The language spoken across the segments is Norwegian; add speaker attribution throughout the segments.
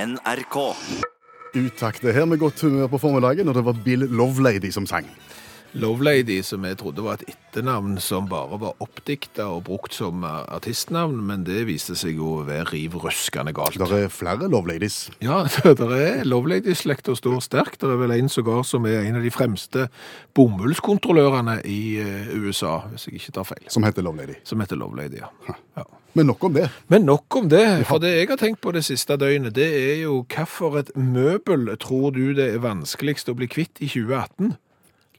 Speaker 1: NRK.
Speaker 2: Utakt er her med godt humør på formiddagen, og det var Bill Lovelady som sang.
Speaker 3: Lovelady, som jeg trodde var et etternavn som bare var oppdikta og brukt som eh, artistnavn, men det viste seg jo å være riv ruskende galt.
Speaker 2: Det er flere Loveladies.
Speaker 3: Ja, det er Lovelady-slekta står sterkt. Det er vel en sågar som er en av de fremste bomullskontrollørene i eh, USA, hvis jeg ikke tar feil.
Speaker 2: som heter Lovelady.
Speaker 3: Som heter Lovelady, ja. ja.
Speaker 2: Men nok om det.
Speaker 3: Men nok om det, for det jeg har tenkt på det siste døgnet, det er jo hvilket møbel tror du det er vanskeligst å bli kvitt i 2018?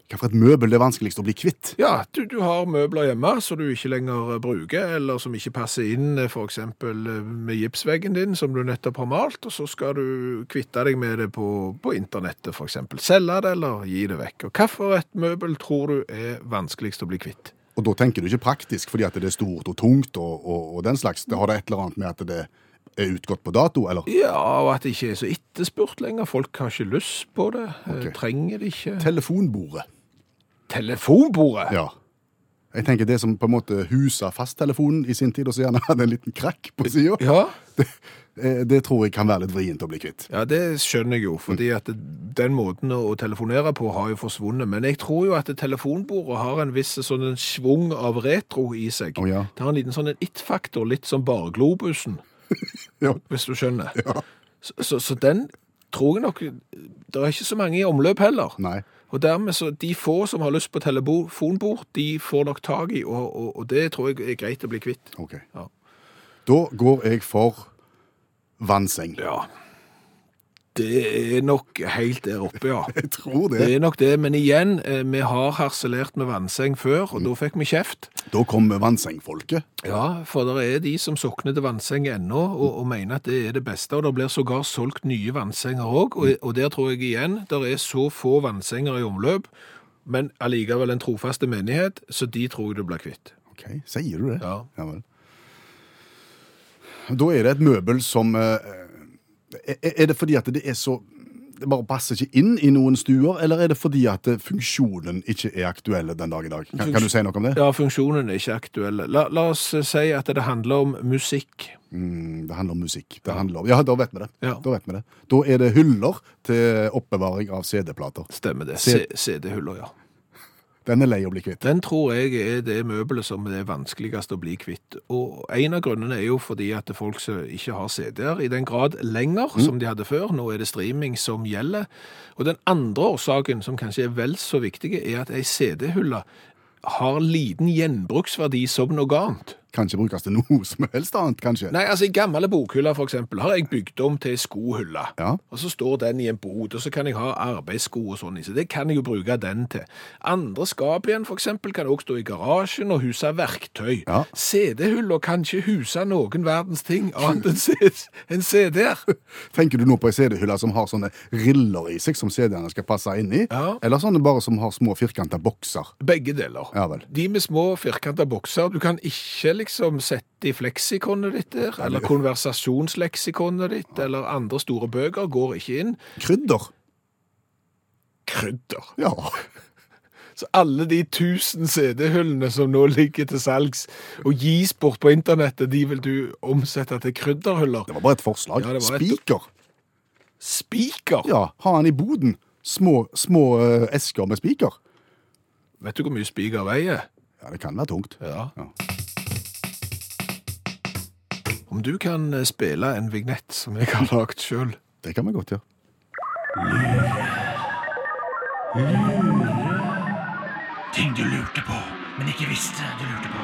Speaker 2: Hva for et møbel det er vanskeligst å bli kvitt?
Speaker 3: Ja, du, du har møbler hjemme som du ikke lenger eh, bruker, eller som ikke passer inn eh, f.eks. eh, med gipsveggen din som du nettopp har malt, og så skal du kvitte deg med det på, på internettet f.eks. Selge det eller gi det vekk. Og hvilket møbel tror du er vanskeligst å bli kvitt?
Speaker 2: Og da tenker du ikke praktisk, fordi at det er stort og tungt og, og, og den slags. Det har det et eller annet med at det er utgått på dato, eller?
Speaker 3: Ja, og at det ikke er så etterspurt lenger. Folk har ikke lyst på det, eh,
Speaker 2: Ok.
Speaker 3: trenger det ikke.
Speaker 2: Telefonbordet.
Speaker 3: Telefonbordet!
Speaker 2: Ja. Jeg tenker det som på en måte huset fasttelefonen i sin tid, og så gjerne hadde en liten krakk på sida.
Speaker 3: Ja.
Speaker 2: Eh, Det tror jeg kan være litt vrient å bli kvitt.
Speaker 3: ja, det skjønner jeg jo, fordi at den måten å telefonere på har jo forsvunnet. Men jeg tror jo at telefonbordet har en viss sånn en svung av retro i seg.
Speaker 2: Å, ja.
Speaker 3: Det har en liten sånn en it-faktor, litt som bare globusen,
Speaker 2: Ja.
Speaker 3: hvis du skjønner. Så, så, så den tror jeg nok, det er ikke så mange i omløp heller.
Speaker 2: Nei.
Speaker 3: Og dermed så, de få som har lyst på telefonbord, de får nok tag i, og, og, og det tror jeg er greit å bli kvitt.
Speaker 2: OK.
Speaker 3: Ja.
Speaker 2: Da går jeg for vannseng.
Speaker 3: Ja, det er nok helt der oppe, ja.
Speaker 2: Jeg tror
Speaker 3: Det
Speaker 2: det.
Speaker 3: er nok det, men igjen, eh, vi har harselert med vannseng før, og da fikk vi kjeft.
Speaker 2: Da kommer vannsengfolket.
Speaker 3: Ja, for det er de som sokner til vannseng ennå, og, og mener at det er det beste, og det blir sågar solgt nye vannsenger òg, og, og der tror jeg igjen, det er så få vannsenger i omløp, men allikevel en trofaste menighet, så de tror jeg du blir kvitt.
Speaker 2: Ok, Sier du det?
Speaker 3: Ja.
Speaker 2: vel. Da er det et møbel som eh, Er er det fordi at det er så Det bare passer ikke inn i noen stuer, eller er det fordi at eh, funksjonen ikke er aktuell den dag i dag? Kan, kan du si noe om det?
Speaker 3: Ja, funksjonen er ikke aktuell. La, la oss si at det handler om musikk.
Speaker 2: Mm, det handler om musikk. Det handler om, ja, da vet vi det.
Speaker 3: Ja.
Speaker 2: Da vet vi det. Da er det hyller til oppbevaring av CD-plater.
Speaker 3: Stemmer det.
Speaker 2: Se-
Speaker 3: CD-huller, ja.
Speaker 2: Den er lei å bli kvitt.
Speaker 3: Den tror jeg er det møbelet som er vanskeligst å bli kvitt. Og en av grunnene er jo fordi at folk som ikke har CD-er i den grad lenger som de hadde før, nå er det streaming som gjelder. Og den andre årsaken, som kanskje er vel så viktig, er at ei CD-hulle har liten gjenbruksverdi som noe annet.
Speaker 2: Kan ikke brukes til noe som helst annet, kanskje.
Speaker 3: Nei, altså i gamle bokhyller for eksempel har jeg bygd om til skohylle.
Speaker 2: Ja.
Speaker 3: Og så står den i en bod, og så kan jeg ha arbeidssko og sånn i, så det kan jeg jo bruke den til. Andre skap igjen for eksempel kan også stå i garasjen og huse verktøy.
Speaker 2: Ja.
Speaker 3: CD-huller kan ikke huse noen verdens ting annet enn C- enn CD-er.
Speaker 2: Tenker du nå på ei CD-hylle som har sånne riller i seg som CD-ene skal passe inn i?
Speaker 3: Ja.
Speaker 2: Eller sånne bare som har små firkanta bokser?
Speaker 3: Begge deler.
Speaker 2: Ja vel.
Speaker 3: De med små firkanta bokser, du kan ikke liksom sette i fleksikonet ditt der, eller konversasjonsleksikonet ditt, eller andre store bøker går ikke inn.
Speaker 2: Krydder?
Speaker 3: Krydder.
Speaker 2: Ja.
Speaker 3: Så alle de tusen CD-hullene som nå ligger til salgs og gis bort på internettet, de vil du omsette til krydderhuller.
Speaker 2: Det var bare et forslag.
Speaker 3: Ja, det var et-
Speaker 2: Spiker?
Speaker 3: Spiker!
Speaker 2: Ja, ha den i boden. Små, små eh, esker med spiker.
Speaker 3: Vet du hvor mye spiker veier?
Speaker 2: Ja, det kan være tungt.
Speaker 3: Ja.
Speaker 2: Ja.
Speaker 3: Om du kan eh, spille en vignett som jeg har lagd sjøl.
Speaker 2: Det kan vi godt gjøre.
Speaker 4: Ting du lurte på, men ikke visste du lurte på.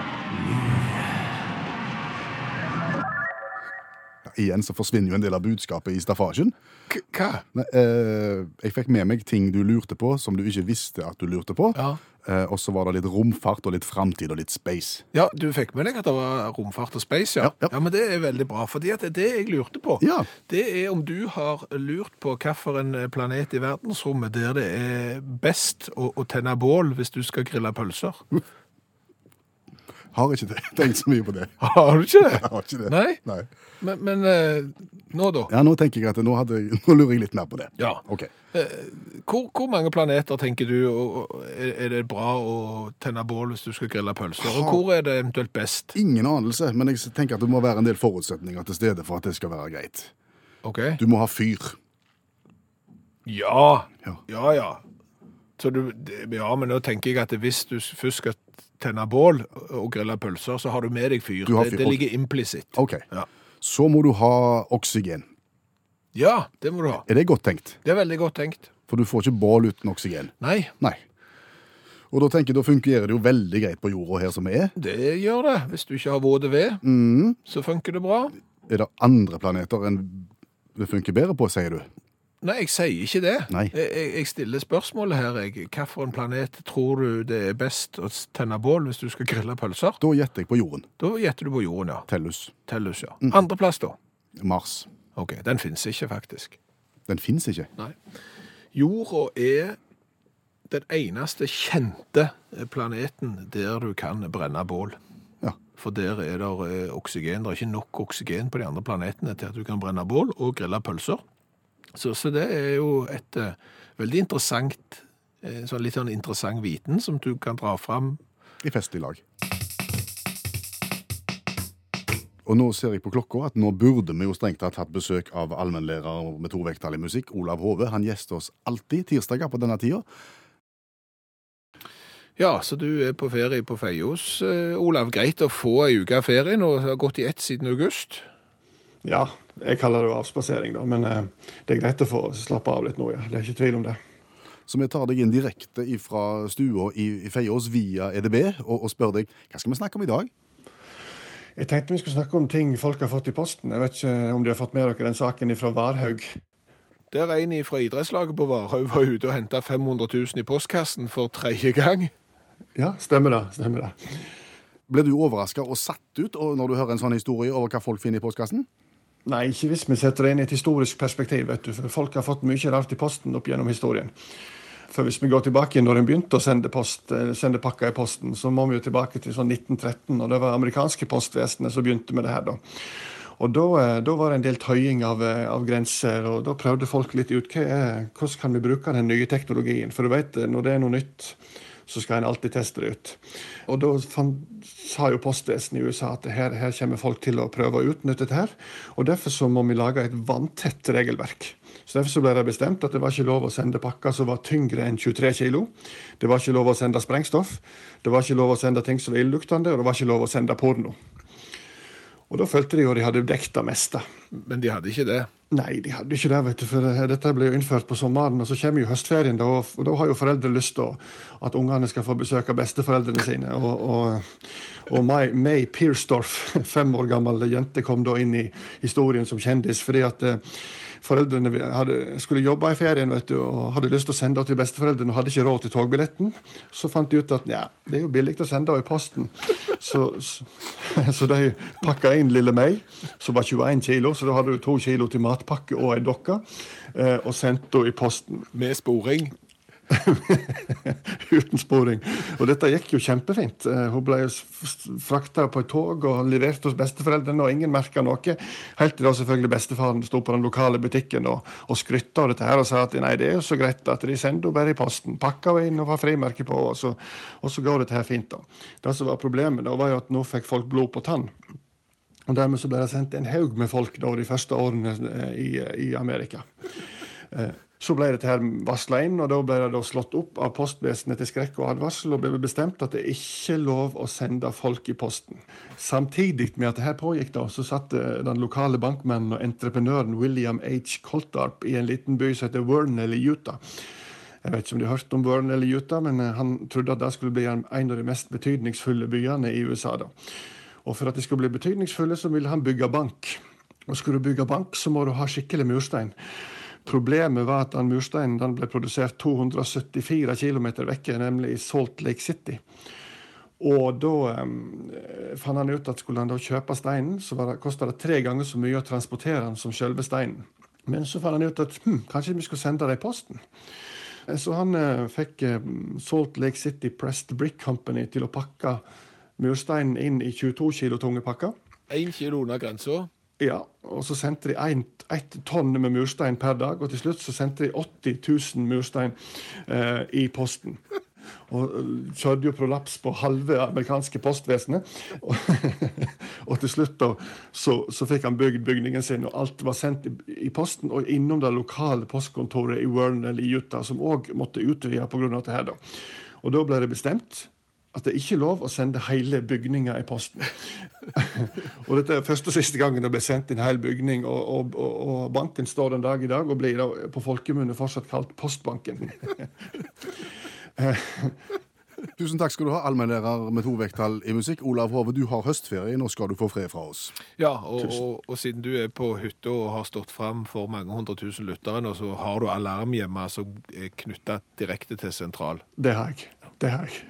Speaker 2: Ja, igjen så forsvinner jo en del av budskapet i staffasjen.
Speaker 3: Hva?
Speaker 2: Nei, eh, jeg fikk med meg ting du lurte på som du ikke visste at du lurte på.
Speaker 3: Ja.
Speaker 2: Eh, og så var det litt romfart og litt framtid og litt space.
Speaker 3: Ja, Du fikk med deg at det var romfart og space? Ja,
Speaker 2: Ja, ja.
Speaker 3: Men det er veldig bra. For det er det jeg lurte på.
Speaker 2: Ja.
Speaker 3: Det er om du har lurt på hvilken eh, planet i verdensrommet der det er best å, å tenne bål hvis du skal grille pølser.
Speaker 2: Har ikke te- tenkt så mye på det.
Speaker 3: Har du ikke det?
Speaker 2: Jeg har ikke det.
Speaker 3: Nei?
Speaker 2: Nei.
Speaker 3: Men, men eh, nå, da.
Speaker 2: Ja, nå tenker jeg at nå, hadde, jeg- nå lurer jeg litt mer på det.
Speaker 3: Ja.
Speaker 2: Ok.
Speaker 3: Hvor, hvor mange planeter tenker du og, og, er er det bra å tenne bål hvis du skal grille pølser? Og hvor er det eventuelt best?
Speaker 2: Ingen anelse, men jeg tenker at det må være en del forutsetninger til stede for at det skal være greit.
Speaker 3: OK?
Speaker 2: Du må ha fyr.
Speaker 3: Ja.
Speaker 2: Ja.
Speaker 3: Ja, ja. Så du, det- ja, men nå tenker jeg at hvis du s- først skal tenne bål og grille pølser, så har du med deg fyr.
Speaker 2: Du har
Speaker 3: Det,
Speaker 2: fyr,
Speaker 3: det
Speaker 2: ok.
Speaker 3: ligger implisitt.
Speaker 2: OK.
Speaker 3: Ja.
Speaker 2: Så må du ha oksygen.
Speaker 3: ja, det må du ha.
Speaker 2: Er det godt tenkt?
Speaker 3: Det er veldig godt tenkt.
Speaker 2: For du får ikke bål uten oksygen.
Speaker 3: Nei,
Speaker 2: Nei. Og da tenker jeg, da fungerer det jo veldig greit på jorda her som vi er.
Speaker 3: det gjør det. Hvis du ikke har våte ved,
Speaker 2: Mm.
Speaker 3: så funker det bra.
Speaker 2: Er det andre planeter enn det funker bedre på, sier du?
Speaker 3: Nei, jeg sier ikke det.
Speaker 2: Nei.
Speaker 3: Jeg, jeg- jeg stiller spørsmålet her. Jeg. Hvilken planet tror du det er best å tenne bål hvis du skal grille pølser?
Speaker 2: Da gjetter jeg på jorden.
Speaker 3: Da gjetter du på jorden, ja.
Speaker 2: Tellus.
Speaker 3: Tellus, ja.
Speaker 2: Mm.
Speaker 3: Andreplass, da?
Speaker 2: Mars.
Speaker 3: OK, den fins ikke, faktisk.
Speaker 2: Den fins ikke.
Speaker 3: Nei. Jorda er den eneste kjente planeten der du kan brenne bål.
Speaker 2: Ja.
Speaker 3: For der er det oksygen. Det er ikke nok oksygen på de andre planetene til at du kan brenne bål og grille pølser. Så, så det er jo et eh, veldig interessant eh, sånn litt sånn interessant viten som du kan dra fram.
Speaker 2: I festlig lag. Og nå ser jeg på klokka at nå burde vi jo strengt tatt hatt besøk av allmennlærer med to vekttall i musikk, Olav Hove. Han gjester oss alltid tirsdager på denne tida.
Speaker 3: Ja, så du er på ferie på Feios. Eh, Olav, greit å få ei uke av ferie nå. Det har gått i ett siden august.
Speaker 1: Ja, jeg kaller det jo avspasering, da, men eh, det er greit å få slappe av litt nå, ja. Det er ikke tvil om det.
Speaker 2: Så vi tar deg inn direkte fra stua i, i Feiås via EDB og, og spør deg hva skal vi snakke om i dag.
Speaker 1: Jeg tenkte vi skulle snakke om ting folk har fått i posten. Jeg vet ikke om de har fått med dere den saken fra Varhaug.
Speaker 3: Der en fra idrettslaget på Varhaug var ute og henta 500 000 i postkassen for tredje gang.
Speaker 1: Ja, stemmer det. stemmer det.
Speaker 2: Ble du overraska og satt ut og- når du hører en sånn historie over hva folk finner i postkassen?
Speaker 1: Nei, ikke hvis vi setter det inn i et historisk perspektiv, vet du, for folk har fått mye rart i posten opp gjennom historien. For hvis vi går tilbake igjen når en begynte å sende, post, eh, sende pakker i posten, så må vi jo tilbake til sånn 1913, og det var amerikanske postvesenet som begynte med det her, da. Og da, eh, da var det en del tøying av, eh, av grenser, og da prøvde folk litt ut hva er, hvordan kan vi bruke den nye teknologien. For du vet, eh, når det er noe nytt, så skal en alltid teste det ut. Og da fant, sa jo postvesenet i USA at her, her kommer folk til å prøve å utnytte dette her, og derfor så må vi lage et vanntett regelverk. Så Derfor så ble det bestemt at det var ikke lov å sende pakker som var tyngre enn 23 kg. Det var ikke lov å sende sprengstoff, det var ikke lov å sende ting som var illeluktende, og det var ikke lov å sende porno. Og da følte de jo de hadde dekket det meste.
Speaker 3: Men de hadde ikke det.
Speaker 1: Nei, de hadde ikke det, vet du, for eh, dette ble jo innført på sommeren, og så kommer jo høstferien, da, og f- og da har jo foreldre lyst til å- at ungene skal få besøke besteforeldrene sine. Og, og, og May, May Piersdorf, fem år gammel jente, kom da inn i historien som kjendis fordi at eh, foreldrene vi- hadde, skulle jobbe i ferien vet du, og hadde lyst til å sende henne til besteforeldrene og hadde ikke råd til togbilletten. Så fant de ut at ja, det er jo billig å sende henne i posten. Så, så, så de pakka inn lille meg, som var 21 kilo, så da hadde hun to kilo til matpakke og ei dokke, eh, og sendte henne i posten
Speaker 3: Med sporing.
Speaker 1: uten sporing. Og dette gikk jo kjempefint. Eh, Hun ble frakta på et tog og levert hos besteforeldrene, og ingen merka noe. Helt til da selvfølgelig bestefaren sto på den lokale butikken og, og skrytta av dette her og sa at nei, det er jo så greit at de sender henne bare i posten. Pakka henne inn og har frimerke på, og så, og så går dette her fint, da. Det som var problemet, da var jo at nå fikk folk blod på tann. Og dermed så ble det sendt en haug med folk da, de første årene eh, i, i Amerika. Eh, Så ble dette her varsla inn, og da ble det da slått opp av postvesenet til skrekk og advarsel, og ble bestemt at det ikke er lov å sende folk i posten. Samtidig med at det her pågikk, da, så satt eh, den lokale bankmannen og entreprenøren William H. Coltarp i en liten by som heter Wernell i Utah. Jeg vet ikke om de har hørt om Wernell i Utah, men eh, han trodde at det skulle bli en en av de mest betydningsfulle byene i USA. da. Og for at de skulle bli betydningsfulle, så ville han bygge bank. Og skulle du bygge bank, så må du ha skikkelig murstein. Problemet var at den mursteinen den ble produsert 274 km vekke, nemlig i Salt Lake City. Og da eh, fant han ut at skulle han da kjøpe steinen, så var det- kosta det tre ganger så mye å transportere den som selve steinen. Men så fant han ut at hm, kanskje vi skulle sende det i posten. Eh, Så han eh, fikk eh, Salt Lake City Pressed Brick Company til å pakke mursteinen inn i 22 kilo tunge pakker.
Speaker 3: Én kilo under grensa.
Speaker 1: Ja, og så sendte de en- ett tonn med murstein per dag, og til slutt så sendte de 80 000 murstein eh, i posten. Og øh, kjørte jo prolaps på halve amerikanske postvesenet. Og, og til slutt da, så, så fikk han bygd bygningen sin, og alt var sendt i, i posten. Og innom det lokale postkontoret i Wernell i Utah, som òg måtte utvide pga. dette her. da. Og da ble det bestemt at det ikke er lov å sende hele bygninger i posten. og dette er første og siste gangen det ble sendt en hel bygning, og, og, og, og banken står den dag i dag og blir da på folkemunne fortsatt kalt Postbanken.
Speaker 2: Tusen takk skal du ha, allmennlærer med to vekttall i musikk. Olav Hove, du har høstferie. Nå skal du få fred fra oss.
Speaker 3: Ja, og, og, og siden du er på hytta og har stått fram for mange hundre tusen lyttere, nå, så har du alarm hjemme som er knytta direkte til sentral.
Speaker 1: Det har jeg. Det har jeg.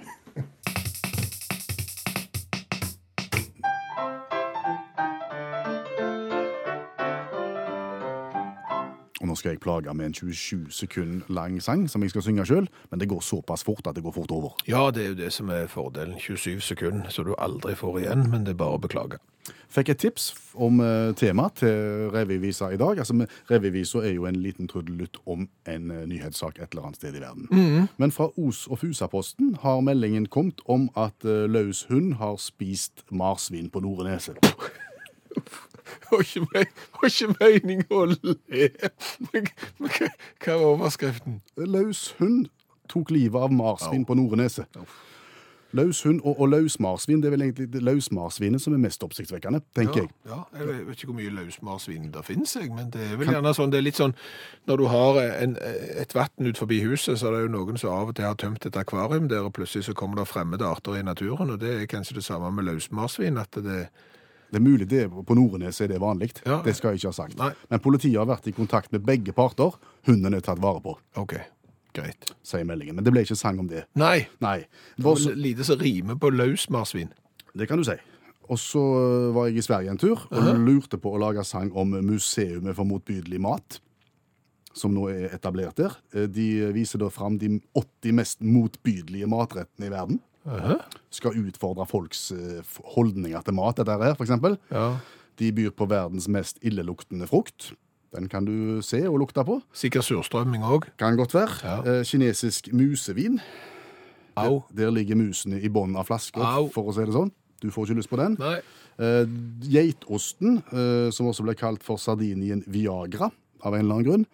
Speaker 2: Og nå skal jeg plage med en 27 sekund lang sang som jeg skal synge sjøl, men det går såpass fort at det går fort over.
Speaker 3: Ja, det er jo det som er fordelen. 27 sekunder, så du aldri får igjen, men det er bare å beklage.
Speaker 2: Fikk et tips om eh, tema til revyvisa i dag. Altså, men Revyvisa er jo en liten trudelutt om en eh, nyhetssak et eller annet sted i verden. Men fra Os- og Fusaposten har meldingen kommet om at eh, løs hund har spist marsvin på Noreneset.
Speaker 3: Det var ikke me- det var ikke meningen å le. Men, men hva hva var overskriften?
Speaker 2: Løs hund tok livet av marsvin på Noreneset. Løs hund og, og løs marsvin, det er vel egentlig det løs marsvinet som er mest oppsiktsvekkende, tenker jeg.
Speaker 3: Ja, jeg vet- vet ikke hvor mye løsmarsvin det finnes, jeg, men det er vel gjerne sånn, det er litt sånn, når du har eh, en, et vatten ut forbi huset, så er det jo noen som av og til har tømt et akvarium der, og plutselig så kommer det fremmede arter i naturen, og det er kanskje det samme med løsmarsvin, at det,
Speaker 2: Det er mulig det på Nordnes er det vanlig.
Speaker 3: Ja.
Speaker 2: Det skal jeg ikke ha sagt.
Speaker 3: Nei.
Speaker 2: Men politiet har vært i kontakt med begge parter. Hunden er tatt vare på,
Speaker 3: ok, greit.
Speaker 2: sier meldingen. Men det ble ikke sang om det.
Speaker 3: Nei,
Speaker 2: Nei. Det,
Speaker 3: det
Speaker 2: var
Speaker 3: var
Speaker 2: også,
Speaker 3: lite som rimer på løsmarsvin.
Speaker 2: det kan du si. Og så var jeg i Sverige en tur og lurte på å lage sang om Museumet for motbydelig mat, som nå er etablert der. Eh, De viser da fram de 80 mest motbydelige matrettene i verden. Skal utfordre folks eh, holdninger til mat, dette her, for eksempel.
Speaker 3: Ja,
Speaker 2: De byr på verdens mest illeluktende frukt. Den kan du se og lukte på.
Speaker 3: sikkert surstrømming også.
Speaker 2: Kan godt være.
Speaker 3: Ja.
Speaker 2: Eh, kinesisk musevin.
Speaker 3: Au.
Speaker 2: Der ligger musene i bånn av flasker,
Speaker 3: Au.
Speaker 2: for å si det sånn. Du får ikke lyst på den.
Speaker 3: Nei.
Speaker 2: Eh, geitosten, eh, som også ble kalt for Sardinien Viagra, av en eller annen grunn.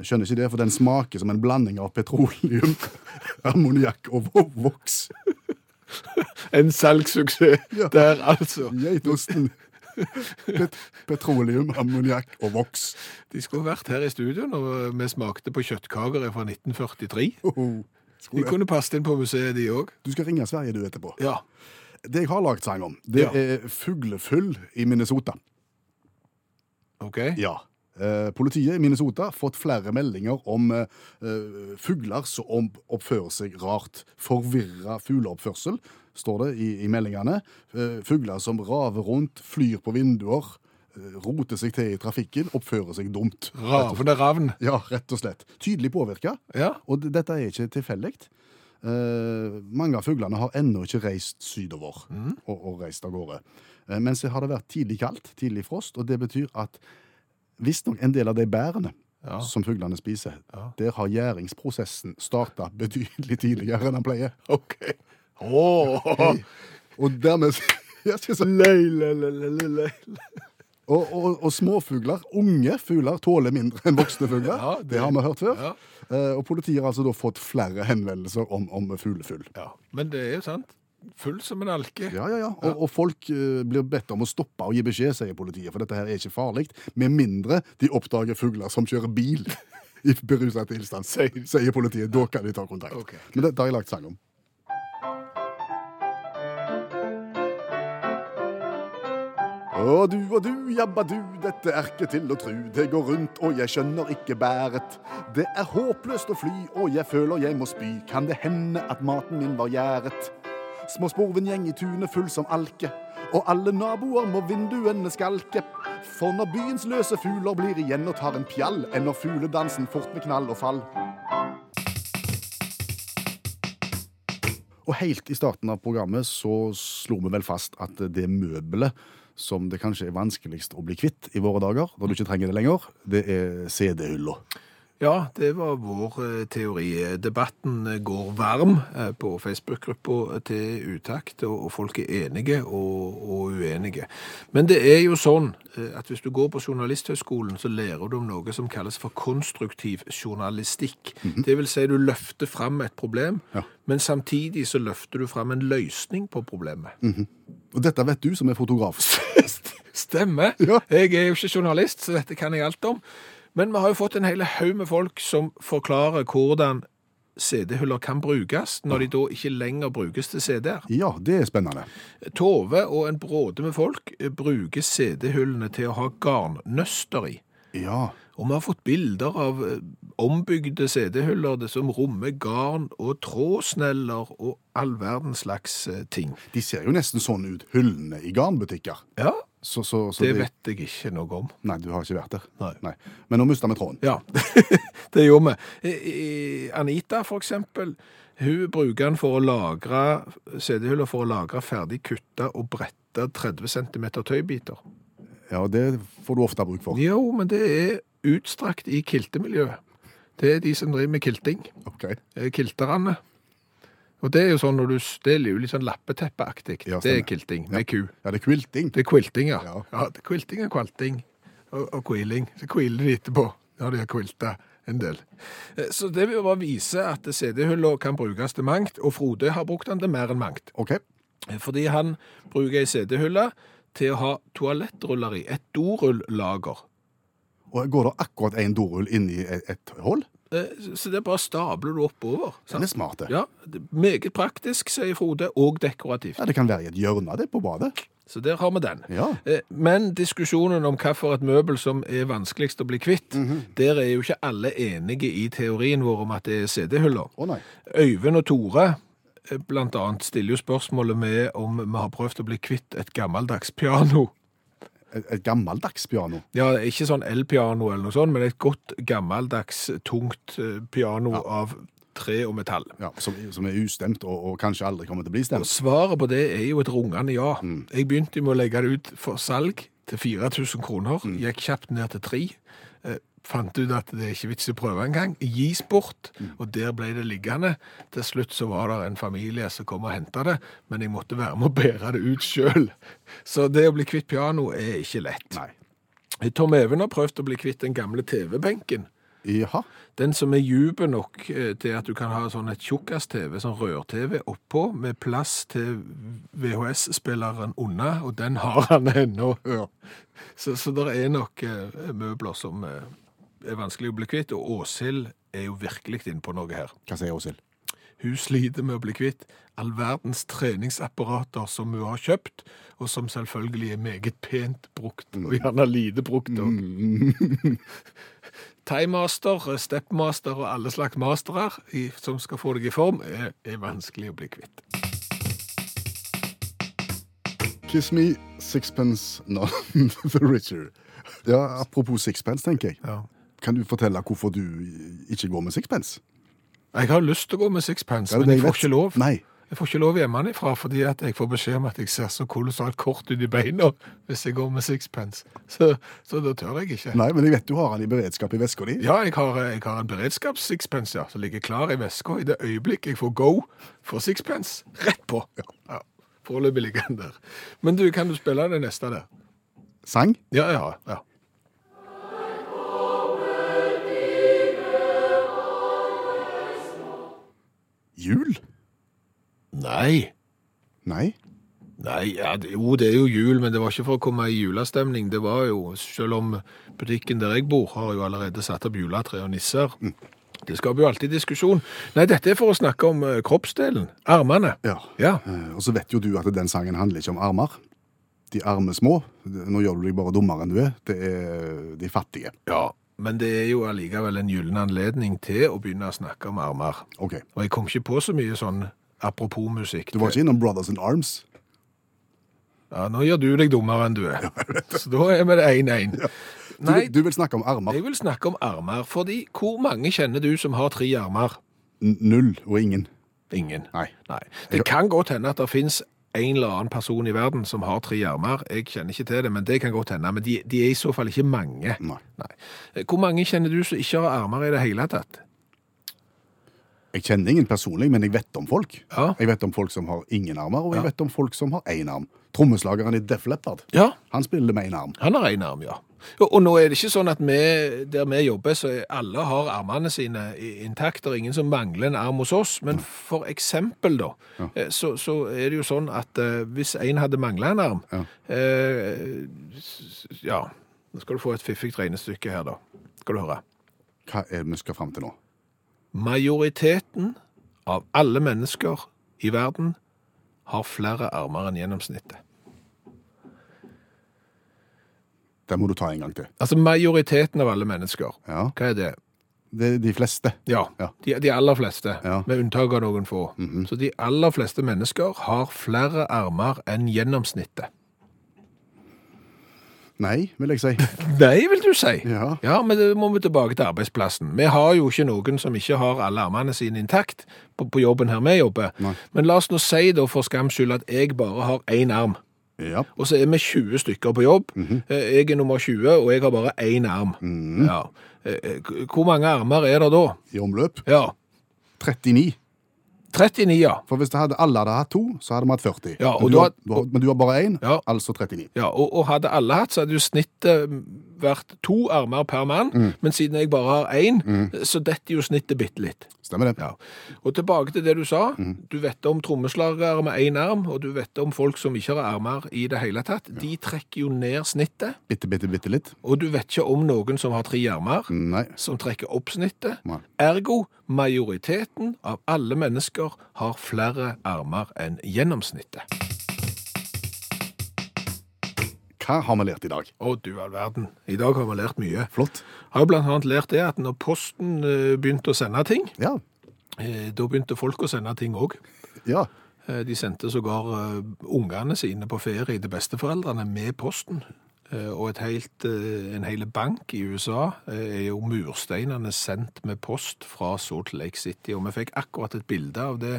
Speaker 2: Jeg Skjønner ikke det, for den smaker som en blanding av petroleum, ammoniakk og vo- voks.
Speaker 3: En salgssuksess der, altså.
Speaker 2: Geitosten. Pet petroleum, ammoniakk og voks.
Speaker 3: De skulle vært her i studio når vi smakte på kjøttkager fra 1943.
Speaker 2: Oho.
Speaker 3: De kunne passet inn på museet, de òg.
Speaker 2: Oh. Du skal ringe Sverige du etterpå.
Speaker 3: Ja.
Speaker 2: Det jeg har lagd sang om, det
Speaker 3: Ja.
Speaker 2: er fuglefyll i Minnesota.
Speaker 3: OK.
Speaker 2: Ja. Eh, politiet i Minnesota har fått flere meldinger om eh, eh, fugler som om- oppfører seg rart. Forvirra fugleoppførsel, står det i, i meldingene. Eh, fugler som raver rundt, flyr på vinduer, eh, roter seg til i trafikken, oppfører seg dumt.
Speaker 3: Ravende ravn.
Speaker 2: Ja, rett og slett. Tydelig påvirka.
Speaker 3: Ja.
Speaker 2: Og d- dette er ikke tilfeldig. Eh, mange av fuglene har ennå ikke reist sydover
Speaker 3: Mm.
Speaker 2: og, og reist av gårde. Eh, men så har det vært tidlig kaldt, tidlig frost, og det betyr at visstnok en del av de bærene
Speaker 3: Ja.
Speaker 2: som fuglene spiser,
Speaker 3: Ja.
Speaker 2: der har gjæringsprosessen starta betydelig tidligere enn den pleier.
Speaker 3: OK. Ååå.
Speaker 2: Og dermed Ja, ikke sant? Og, og, og småfugler, unge fugler, tåler mindre enn voksne fugler.
Speaker 3: Ja,
Speaker 2: det,
Speaker 3: det-
Speaker 2: har vi hørt før.
Speaker 3: Ja.
Speaker 2: Eh, og politiet har altså da fått flere henvendelser om, om fuglefugl.
Speaker 3: Ja. Men det er jo sant. Full som en alke.
Speaker 2: Ja, ja, ja. Og, og folk eh, blir bedt om å stoppe og gi beskjed, sier politiet, for dette her er ikke farlig, med mindre de oppdager fugler som kjører bil i beruset tilstand, sier, sier politiet. Da kan de ta kontakt.
Speaker 3: Ok.
Speaker 2: Men dette har jeg lagt sang om. Å du og du, jabba du, dette er ikke til å tru. Det går rundt, og jeg skjønner ikke bæret. Det er håpløst å fly, og jeg føler jeg må spy. Kan det hende at maten min var gjæret? Små sporvengjeng i tunet full som alke. Og alle naboer må vinduene skalke. For når byens løse fugler blir igjen og tar en pjall, ender fugledansen fort med knall og fall. Og helt i starten av programmet så slo vi vel fast at det møbelet som det kanskje er vanskeligst å bli kvitt i våre dager, når du ikke trenger det lenger, det er CD-hylla.
Speaker 3: Ja, det var vår eh, teori. Debatten går varm eh, på Facebook-gruppa til Utakt, og og folk er enige og, og uenige. Men det er jo sånn eh, at hvis du går på Journalisthøgskolen, så lærer du om noe som kalles for konstruktiv journalistikk. Det vil si du løfter fram et problem,
Speaker 2: Mhm. Ja.
Speaker 3: men samtidig så løfter du fram en løsning på problemet.
Speaker 2: Og dette vet du som er fotograf.
Speaker 3: Stemmer.
Speaker 2: Ja.
Speaker 3: Jeg er jo ikke journalist, så dette kan jeg alt om. Men vi har jo fått en hel haug med folk som forklarer hvordan CD-huller kan brukes, når de da ikke lenger brukes til CD-er.
Speaker 2: Ja, det er spennende.
Speaker 3: Tove og en bråde med folk eh, bruker CD-hullene til å ha garnnøster i.
Speaker 2: Ja,
Speaker 3: Og vi har fått bilder av eh, ombygde CD-huller det som rommer garn og trådsneller og all verdens slags eh, ting.
Speaker 2: De ser jo nesten sånn ut, hyllene i garnbutikker.
Speaker 3: Ja,
Speaker 2: Så, så, så
Speaker 3: det
Speaker 2: de-
Speaker 3: vet jeg ikke noe om.
Speaker 2: Nei, du har ikke vært der.
Speaker 3: Nei.
Speaker 2: Men nå mista vi tråden.
Speaker 3: Ja, det gjorde vi. I- i- Anita, for eksempel, hun bruker den for å lagre CD-huller for å lagre ferdig kutta og bretta 30 cm tøybiter.
Speaker 2: Ja, det får du ofte bruk for.
Speaker 3: Jo, men det er utstrakt i kiltemiljøet. Det er de som driver med kilting.
Speaker 2: Ok.
Speaker 3: eh, Kilterne. Og det er jo sånn når du stiller jo litt sånn lappeteppeaktig.
Speaker 2: Ja,
Speaker 3: det er
Speaker 2: stemmer.
Speaker 3: kilting med ku.
Speaker 2: Ja, det er quilting.
Speaker 3: Det er quilting, ja.
Speaker 2: Ja.
Speaker 3: ja det er quilting og kvalting og, og quilling. Så quiler de etterpå, når de har quilta en del. Eh, Så det vil jo bare vise at CD-hulla kan brukes til mangt, og Frode har brukt den til mer enn mangt.
Speaker 2: Ok.
Speaker 3: Eh, Fordi han bruker ei CD-hulle til å ha toalettruller i. Et dorullager.
Speaker 2: Og går det akkurat én dorull inni et, et hull?
Speaker 3: Eh, Så så det bare stabler du oppover.
Speaker 2: Den
Speaker 3: sant?
Speaker 2: er smart, det.
Speaker 3: Ja, det er Meget praktisk, sier Frode, og dekorativt.
Speaker 2: Ja, det kan være i et hjørne, det, på badet.
Speaker 3: Så der har vi den.
Speaker 2: Ja.
Speaker 3: Eh, Men diskusjonen om hvilket møbel som er vanskeligst å bli kvitt, der er jo ikke alle enige i teorien vår om at det er CD-huller.
Speaker 2: Å nei.
Speaker 3: Øyvind og Tore eh, blant annet stiller jo spørsmålet med om vi har prøvd å bli kvitt et gammeldags piano.
Speaker 2: Et, et gammeldags piano.
Speaker 3: Ja, ikke sånn elpiano eller noe sånt, men et godt gammeldags tungt eh, piano av tre og metall.
Speaker 2: Ja, som, som er ustemt og, og kanskje aldri kommer til å bli
Speaker 3: Og
Speaker 2: stemt.
Speaker 3: svaret på det er jo et rungende ja. Jeg begynte jo med å legge det ut for salg til 4000 kroner, gikk kjapt ned til 3 fant ut at det er ikke vits i å prøve engang. Gis bort, og der ble det liggende. Til slutt så var det en familie som kom og henta det, men jeg måtte være med å bære det ut sjøl. Så det å bli kvitt piano er ikke lett.
Speaker 2: Nei.
Speaker 3: Tom Even har prøvd å bli kvitt den gamle TV-benken.
Speaker 2: Jaha.
Speaker 3: Den som er djupe nok eh, til at du kan ha sånn et tjukkas-TV, sånn rør-TV oppå, med plass til VHS-spilleren unna, og den har han ennå. Så, så det er nok eh, møbler som eh, er vanskelig å bli kvitt, og Åshild er jo virkelig inne på noe her.
Speaker 2: Hva sier Åshild?
Speaker 3: Hun sliter med å bli kvitt all verdens treningsapparater som hun har kjøpt, og som selvfølgelig er meget pent brukt, og gjerne lite brukt òg.
Speaker 2: Mm.
Speaker 3: Timemaster, stepmaster og alle slags mastere i- som skal få deg i form, er, er vanskelig å bli kvitt.
Speaker 2: Kiss me sixpence, not the richer. Ja, Apropos sixpence, tenker jeg. Kan du fortelle hvorfor du ikke går med sixpence?
Speaker 3: Jeg har lyst til å gå med sixpence,
Speaker 2: Ja, det
Speaker 3: men jeg
Speaker 2: jeg
Speaker 3: får
Speaker 2: vet.
Speaker 3: ikke lov.
Speaker 2: Nei.
Speaker 3: Jeg får ikke lov hjemmefra fordi at jeg får beskjed om at jeg ser så kolossalt kort ut i beina hvis jeg går med sixpence. Så, så da tør jeg ikke.
Speaker 2: Nei, men jeg vet du har han i beredskap i veska di.
Speaker 3: Ja, jeg har, eh, jeg har en beredskaps-sixpence ja, som ligger klar i veska i det øyeblikk jeg får go for sixpence. Rett på! Ja, Foreløpig ligger den der. Men du, kan du spille det neste der?
Speaker 2: Sang?
Speaker 3: Ja, ja. ja.
Speaker 2: Jul?
Speaker 3: Nei.
Speaker 2: Nei.
Speaker 3: Nei, ja, det- jo, det er jo jul, men det var ikke for å komme i julestemning. Det var jo, selv om butikken der jeg bor har jo allerede satt opp juletre og nisser. Mm. Det skaper jo alltid diskusjon. Nei, dette er for å snakke om eh, kroppsdelen. Armene.
Speaker 2: Ja.
Speaker 3: Ja.
Speaker 2: Eh, Og så vet jo du at den sangen handler ikke om armer. De arme små. Nå gjør du deg bare dummere enn du er. Det er de fattige.
Speaker 3: Ja, men det er jo allikevel en gyllen anledning til å begynne å snakke om armer.
Speaker 2: Ok.
Speaker 3: Og jeg kom ikke på så mye sånn apropos musikk.
Speaker 2: Du var ikke innom Brothers in Arms?
Speaker 3: Ja, nå gjør du deg dummere enn du er. Så da er vi det 1-1.
Speaker 2: Du,
Speaker 3: Nei,
Speaker 2: du vil snakke om armer.
Speaker 3: jeg vil snakke om armer, fordi hvor mange kjenner du som har tre armer?
Speaker 2: N- Null og ingen.
Speaker 3: Ingen.
Speaker 2: Nei.
Speaker 3: Nei. Det kan godt hende at det finnes en eller annen person i verden som har tre armer. Jeg kjenner ikke til det, men det kan godt hende. Men de, de er i så fall ikke mange.
Speaker 2: Nei.
Speaker 3: Nei. Hvor mange kjenner du som ikke har armer i det hele tatt?
Speaker 2: Jeg kjenner ingen personlig, men jeg vet om folk.
Speaker 3: Ja.
Speaker 2: Jeg vet om folk som har ingen armer, og jeg vet om folk som har én arm. Trommeslageren i Def Leppard,
Speaker 3: Ja.
Speaker 2: han spiller med én arm.
Speaker 3: Han har én arm, ja. Og, og nå er det ikke sånn at vi, der vi jobber, så er- alle har armene sine i- intakt. Det er ingen som mangler en arm hos oss. Men for eksempel, da, eh, så, så er det jo sånn at eh, hvis en hadde mangla en arm eh, s- s- Ja. Nå skal du få et fiffig regnestykke her, da. Skal du høre.
Speaker 2: Hva er det vi skal fram til nå?
Speaker 3: Majoriteten av alle mennesker i verden har flere armer enn gjennomsnittet.
Speaker 2: Den må du ta en gang til.
Speaker 3: Altså majoriteten av alle mennesker.
Speaker 2: Ja.
Speaker 3: Hva er det?
Speaker 2: Det er de fleste.
Speaker 3: Ja,
Speaker 2: Ja.
Speaker 3: De, de aller fleste,
Speaker 2: Ja. Mhm.
Speaker 3: med unntak av noen få. Så de aller fleste mennesker har flere armer enn gjennomsnittet.
Speaker 2: Nei, vil jeg si.
Speaker 3: Nei, vil du si.
Speaker 2: Ja.
Speaker 3: men det må vi tilbake til arbeidsplassen. Vi har jo ikke noen som ikke har alle armene sine intakt på, på jobben her vi jobber.
Speaker 2: Nei.
Speaker 3: Men la oss nå si da for skams skyld at jeg bare har én arm.
Speaker 2: Ja.
Speaker 3: Og så er vi 20 stykker på jobb.
Speaker 2: Mhm.
Speaker 3: Eh, Jeg er nummer 20, og jeg har bare én arm. Ja. Eh, eh, Hvor mange armer er det da?
Speaker 2: I omløp
Speaker 3: Ja,
Speaker 2: 39.
Speaker 3: 39, ja.
Speaker 2: For hvis det hadde, alle hadde hatt to, så hadde vi hatt 40.
Speaker 3: Ja, og
Speaker 2: men, du
Speaker 3: da-
Speaker 2: har, du har, men du har bare én,
Speaker 3: Ja.
Speaker 2: altså 39.
Speaker 3: Ja, og, og hadde alle hatt, så hadde jo snittet vært to armer per mann, men siden jeg bare har én, så detter jo snittet bitte litt.
Speaker 2: Stemmer det?
Speaker 3: Ja. Og tilbake til det du sa. Du vet om trommeslagere med én arm, og du vet om folk som ikke har armer i det hele tatt. De trekker jo ned snittet,
Speaker 2: Bitte, bitte, bitte litt.
Speaker 3: og du vet ikke om noen som har tre armer,
Speaker 2: Nei.
Speaker 3: som trekker opp snittet.
Speaker 2: Nei.
Speaker 3: Ergo, majoriteten av alle mennesker har flere armer enn gjennomsnittet.
Speaker 2: Hva har vi lært i dag?
Speaker 3: Å, du all verden. I dag har vi lært mye.
Speaker 2: Flott.
Speaker 3: Har jo blant annet lært det at når posten eh, begynte å sende ting,
Speaker 2: Ja.
Speaker 3: eh, da begynte folk å sende ting òg.
Speaker 2: Ja.
Speaker 3: De sendte sågar eh, ungene sine på ferie til besteforeldrene med posten. Eh, Og et helt, eh, en hel bank i USA eh, er jo mursteinene sendt med post fra Salt Lake City. Og vi fikk akkurat et bilde av det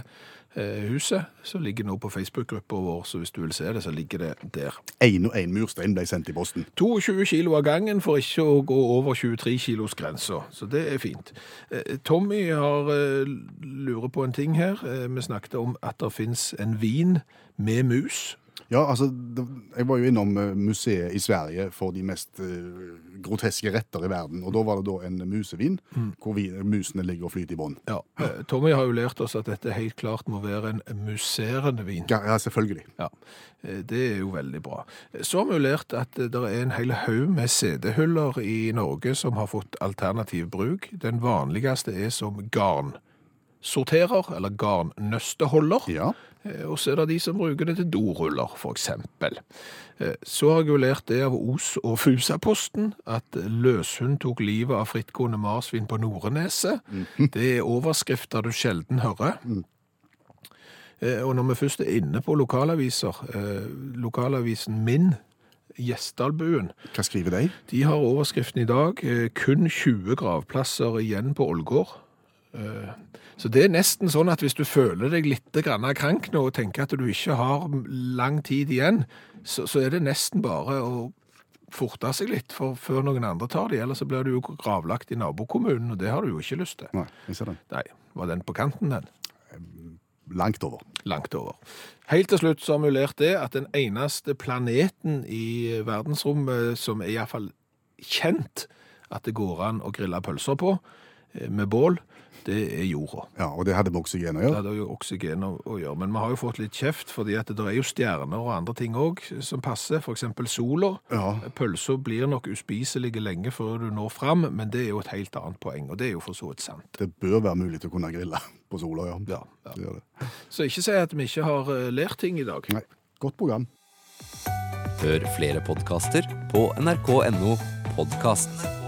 Speaker 3: eh, huset, som ligger nå på Facebook-gruppa vår. Så hvis du vil se det, så ligger det der.
Speaker 2: Én og én murstein ble sendt i posten.
Speaker 3: 22 kilo av gangen for ikke å gå over 23 kilos grensa, så det er fint. Eh, Tommy har eh, lurer på en ting her. Eh, Vi snakket om at det finnes en vin med mus.
Speaker 2: Ja, altså, det, Jeg var jo innom eh, museet i Sverige for de mest eh, groteske retter i verden. Og Da var det da en musevin, hvor vi, musene ligger og flyter i bånn.
Speaker 3: Ja. eh, Tommy har jo lært oss at dette helt klart må være en musserende vin.
Speaker 2: Ja, ja, selvfølgelig.
Speaker 3: Ja, eh, det er jo veldig bra. Eh, Så har vi jo lært at eh, det er en hel haug med CD-huller i Norge som har fått alternativ bruk. Den vanligste er som garnsorterer, eller garnnøsteholder.
Speaker 2: Ja.
Speaker 3: Eh, Og så er det de som bruker det til doruller, for eksempel. Eh, Så har jeg jo lært det av Os- og Fusaposten at løshund tok livet av frittgående marsvin på Noreneset. Det er overskrifter du sjelden hører. Eh, Og når vi først er inne på lokalaviser, eh, lokalavisen min, Gjesdalbuen,
Speaker 2: Hva skriver de?
Speaker 3: de har overskriften i dag eh, kun 20 gravplasser igjen på Ålgård. Eh, Så det er nesten sånn at hvis du føler deg litt grann krank nå og tenker at du ikke har lang tid igjen, så, så er det nesten bare å forte seg litt for, før noen andre tar det. Ellers så blir du jo gravlagt i nabokommunen, og det har du jo ikke lyst til.
Speaker 2: Nei, jeg ser den.
Speaker 3: Nei, var den på kanten den?
Speaker 2: Langt over.
Speaker 3: langt over. Helt til slutt så har vi lært det at den eneste planeten i verdensrommet som er iallfall kjent at det går an å grille pølser på eh, med bål, det er jorda.
Speaker 2: Ja, Og det hadde med oksygen å
Speaker 3: Det
Speaker 2: gjøre.
Speaker 3: hadde jo oksygen å, å gjøre, men vi har jo fått litt kjeft, fordi at det der er jo stjerner og andre ting òg som passer, f.eks. sola.
Speaker 2: Ja.
Speaker 3: Pølser blir nok uspiselige lenge før du når fram, men det er jo et helt annet poeng, og det er jo for så vidt sant.
Speaker 2: Det bør være mulig til å kunne grille på sola, ja.
Speaker 3: Ja, ja.
Speaker 2: Det gjør det.
Speaker 3: Så ikke si at vi ikke har eh, lært ting i dag.
Speaker 2: Nei, godt program.
Speaker 5: Hør flere podkaster på nrk.no podkast.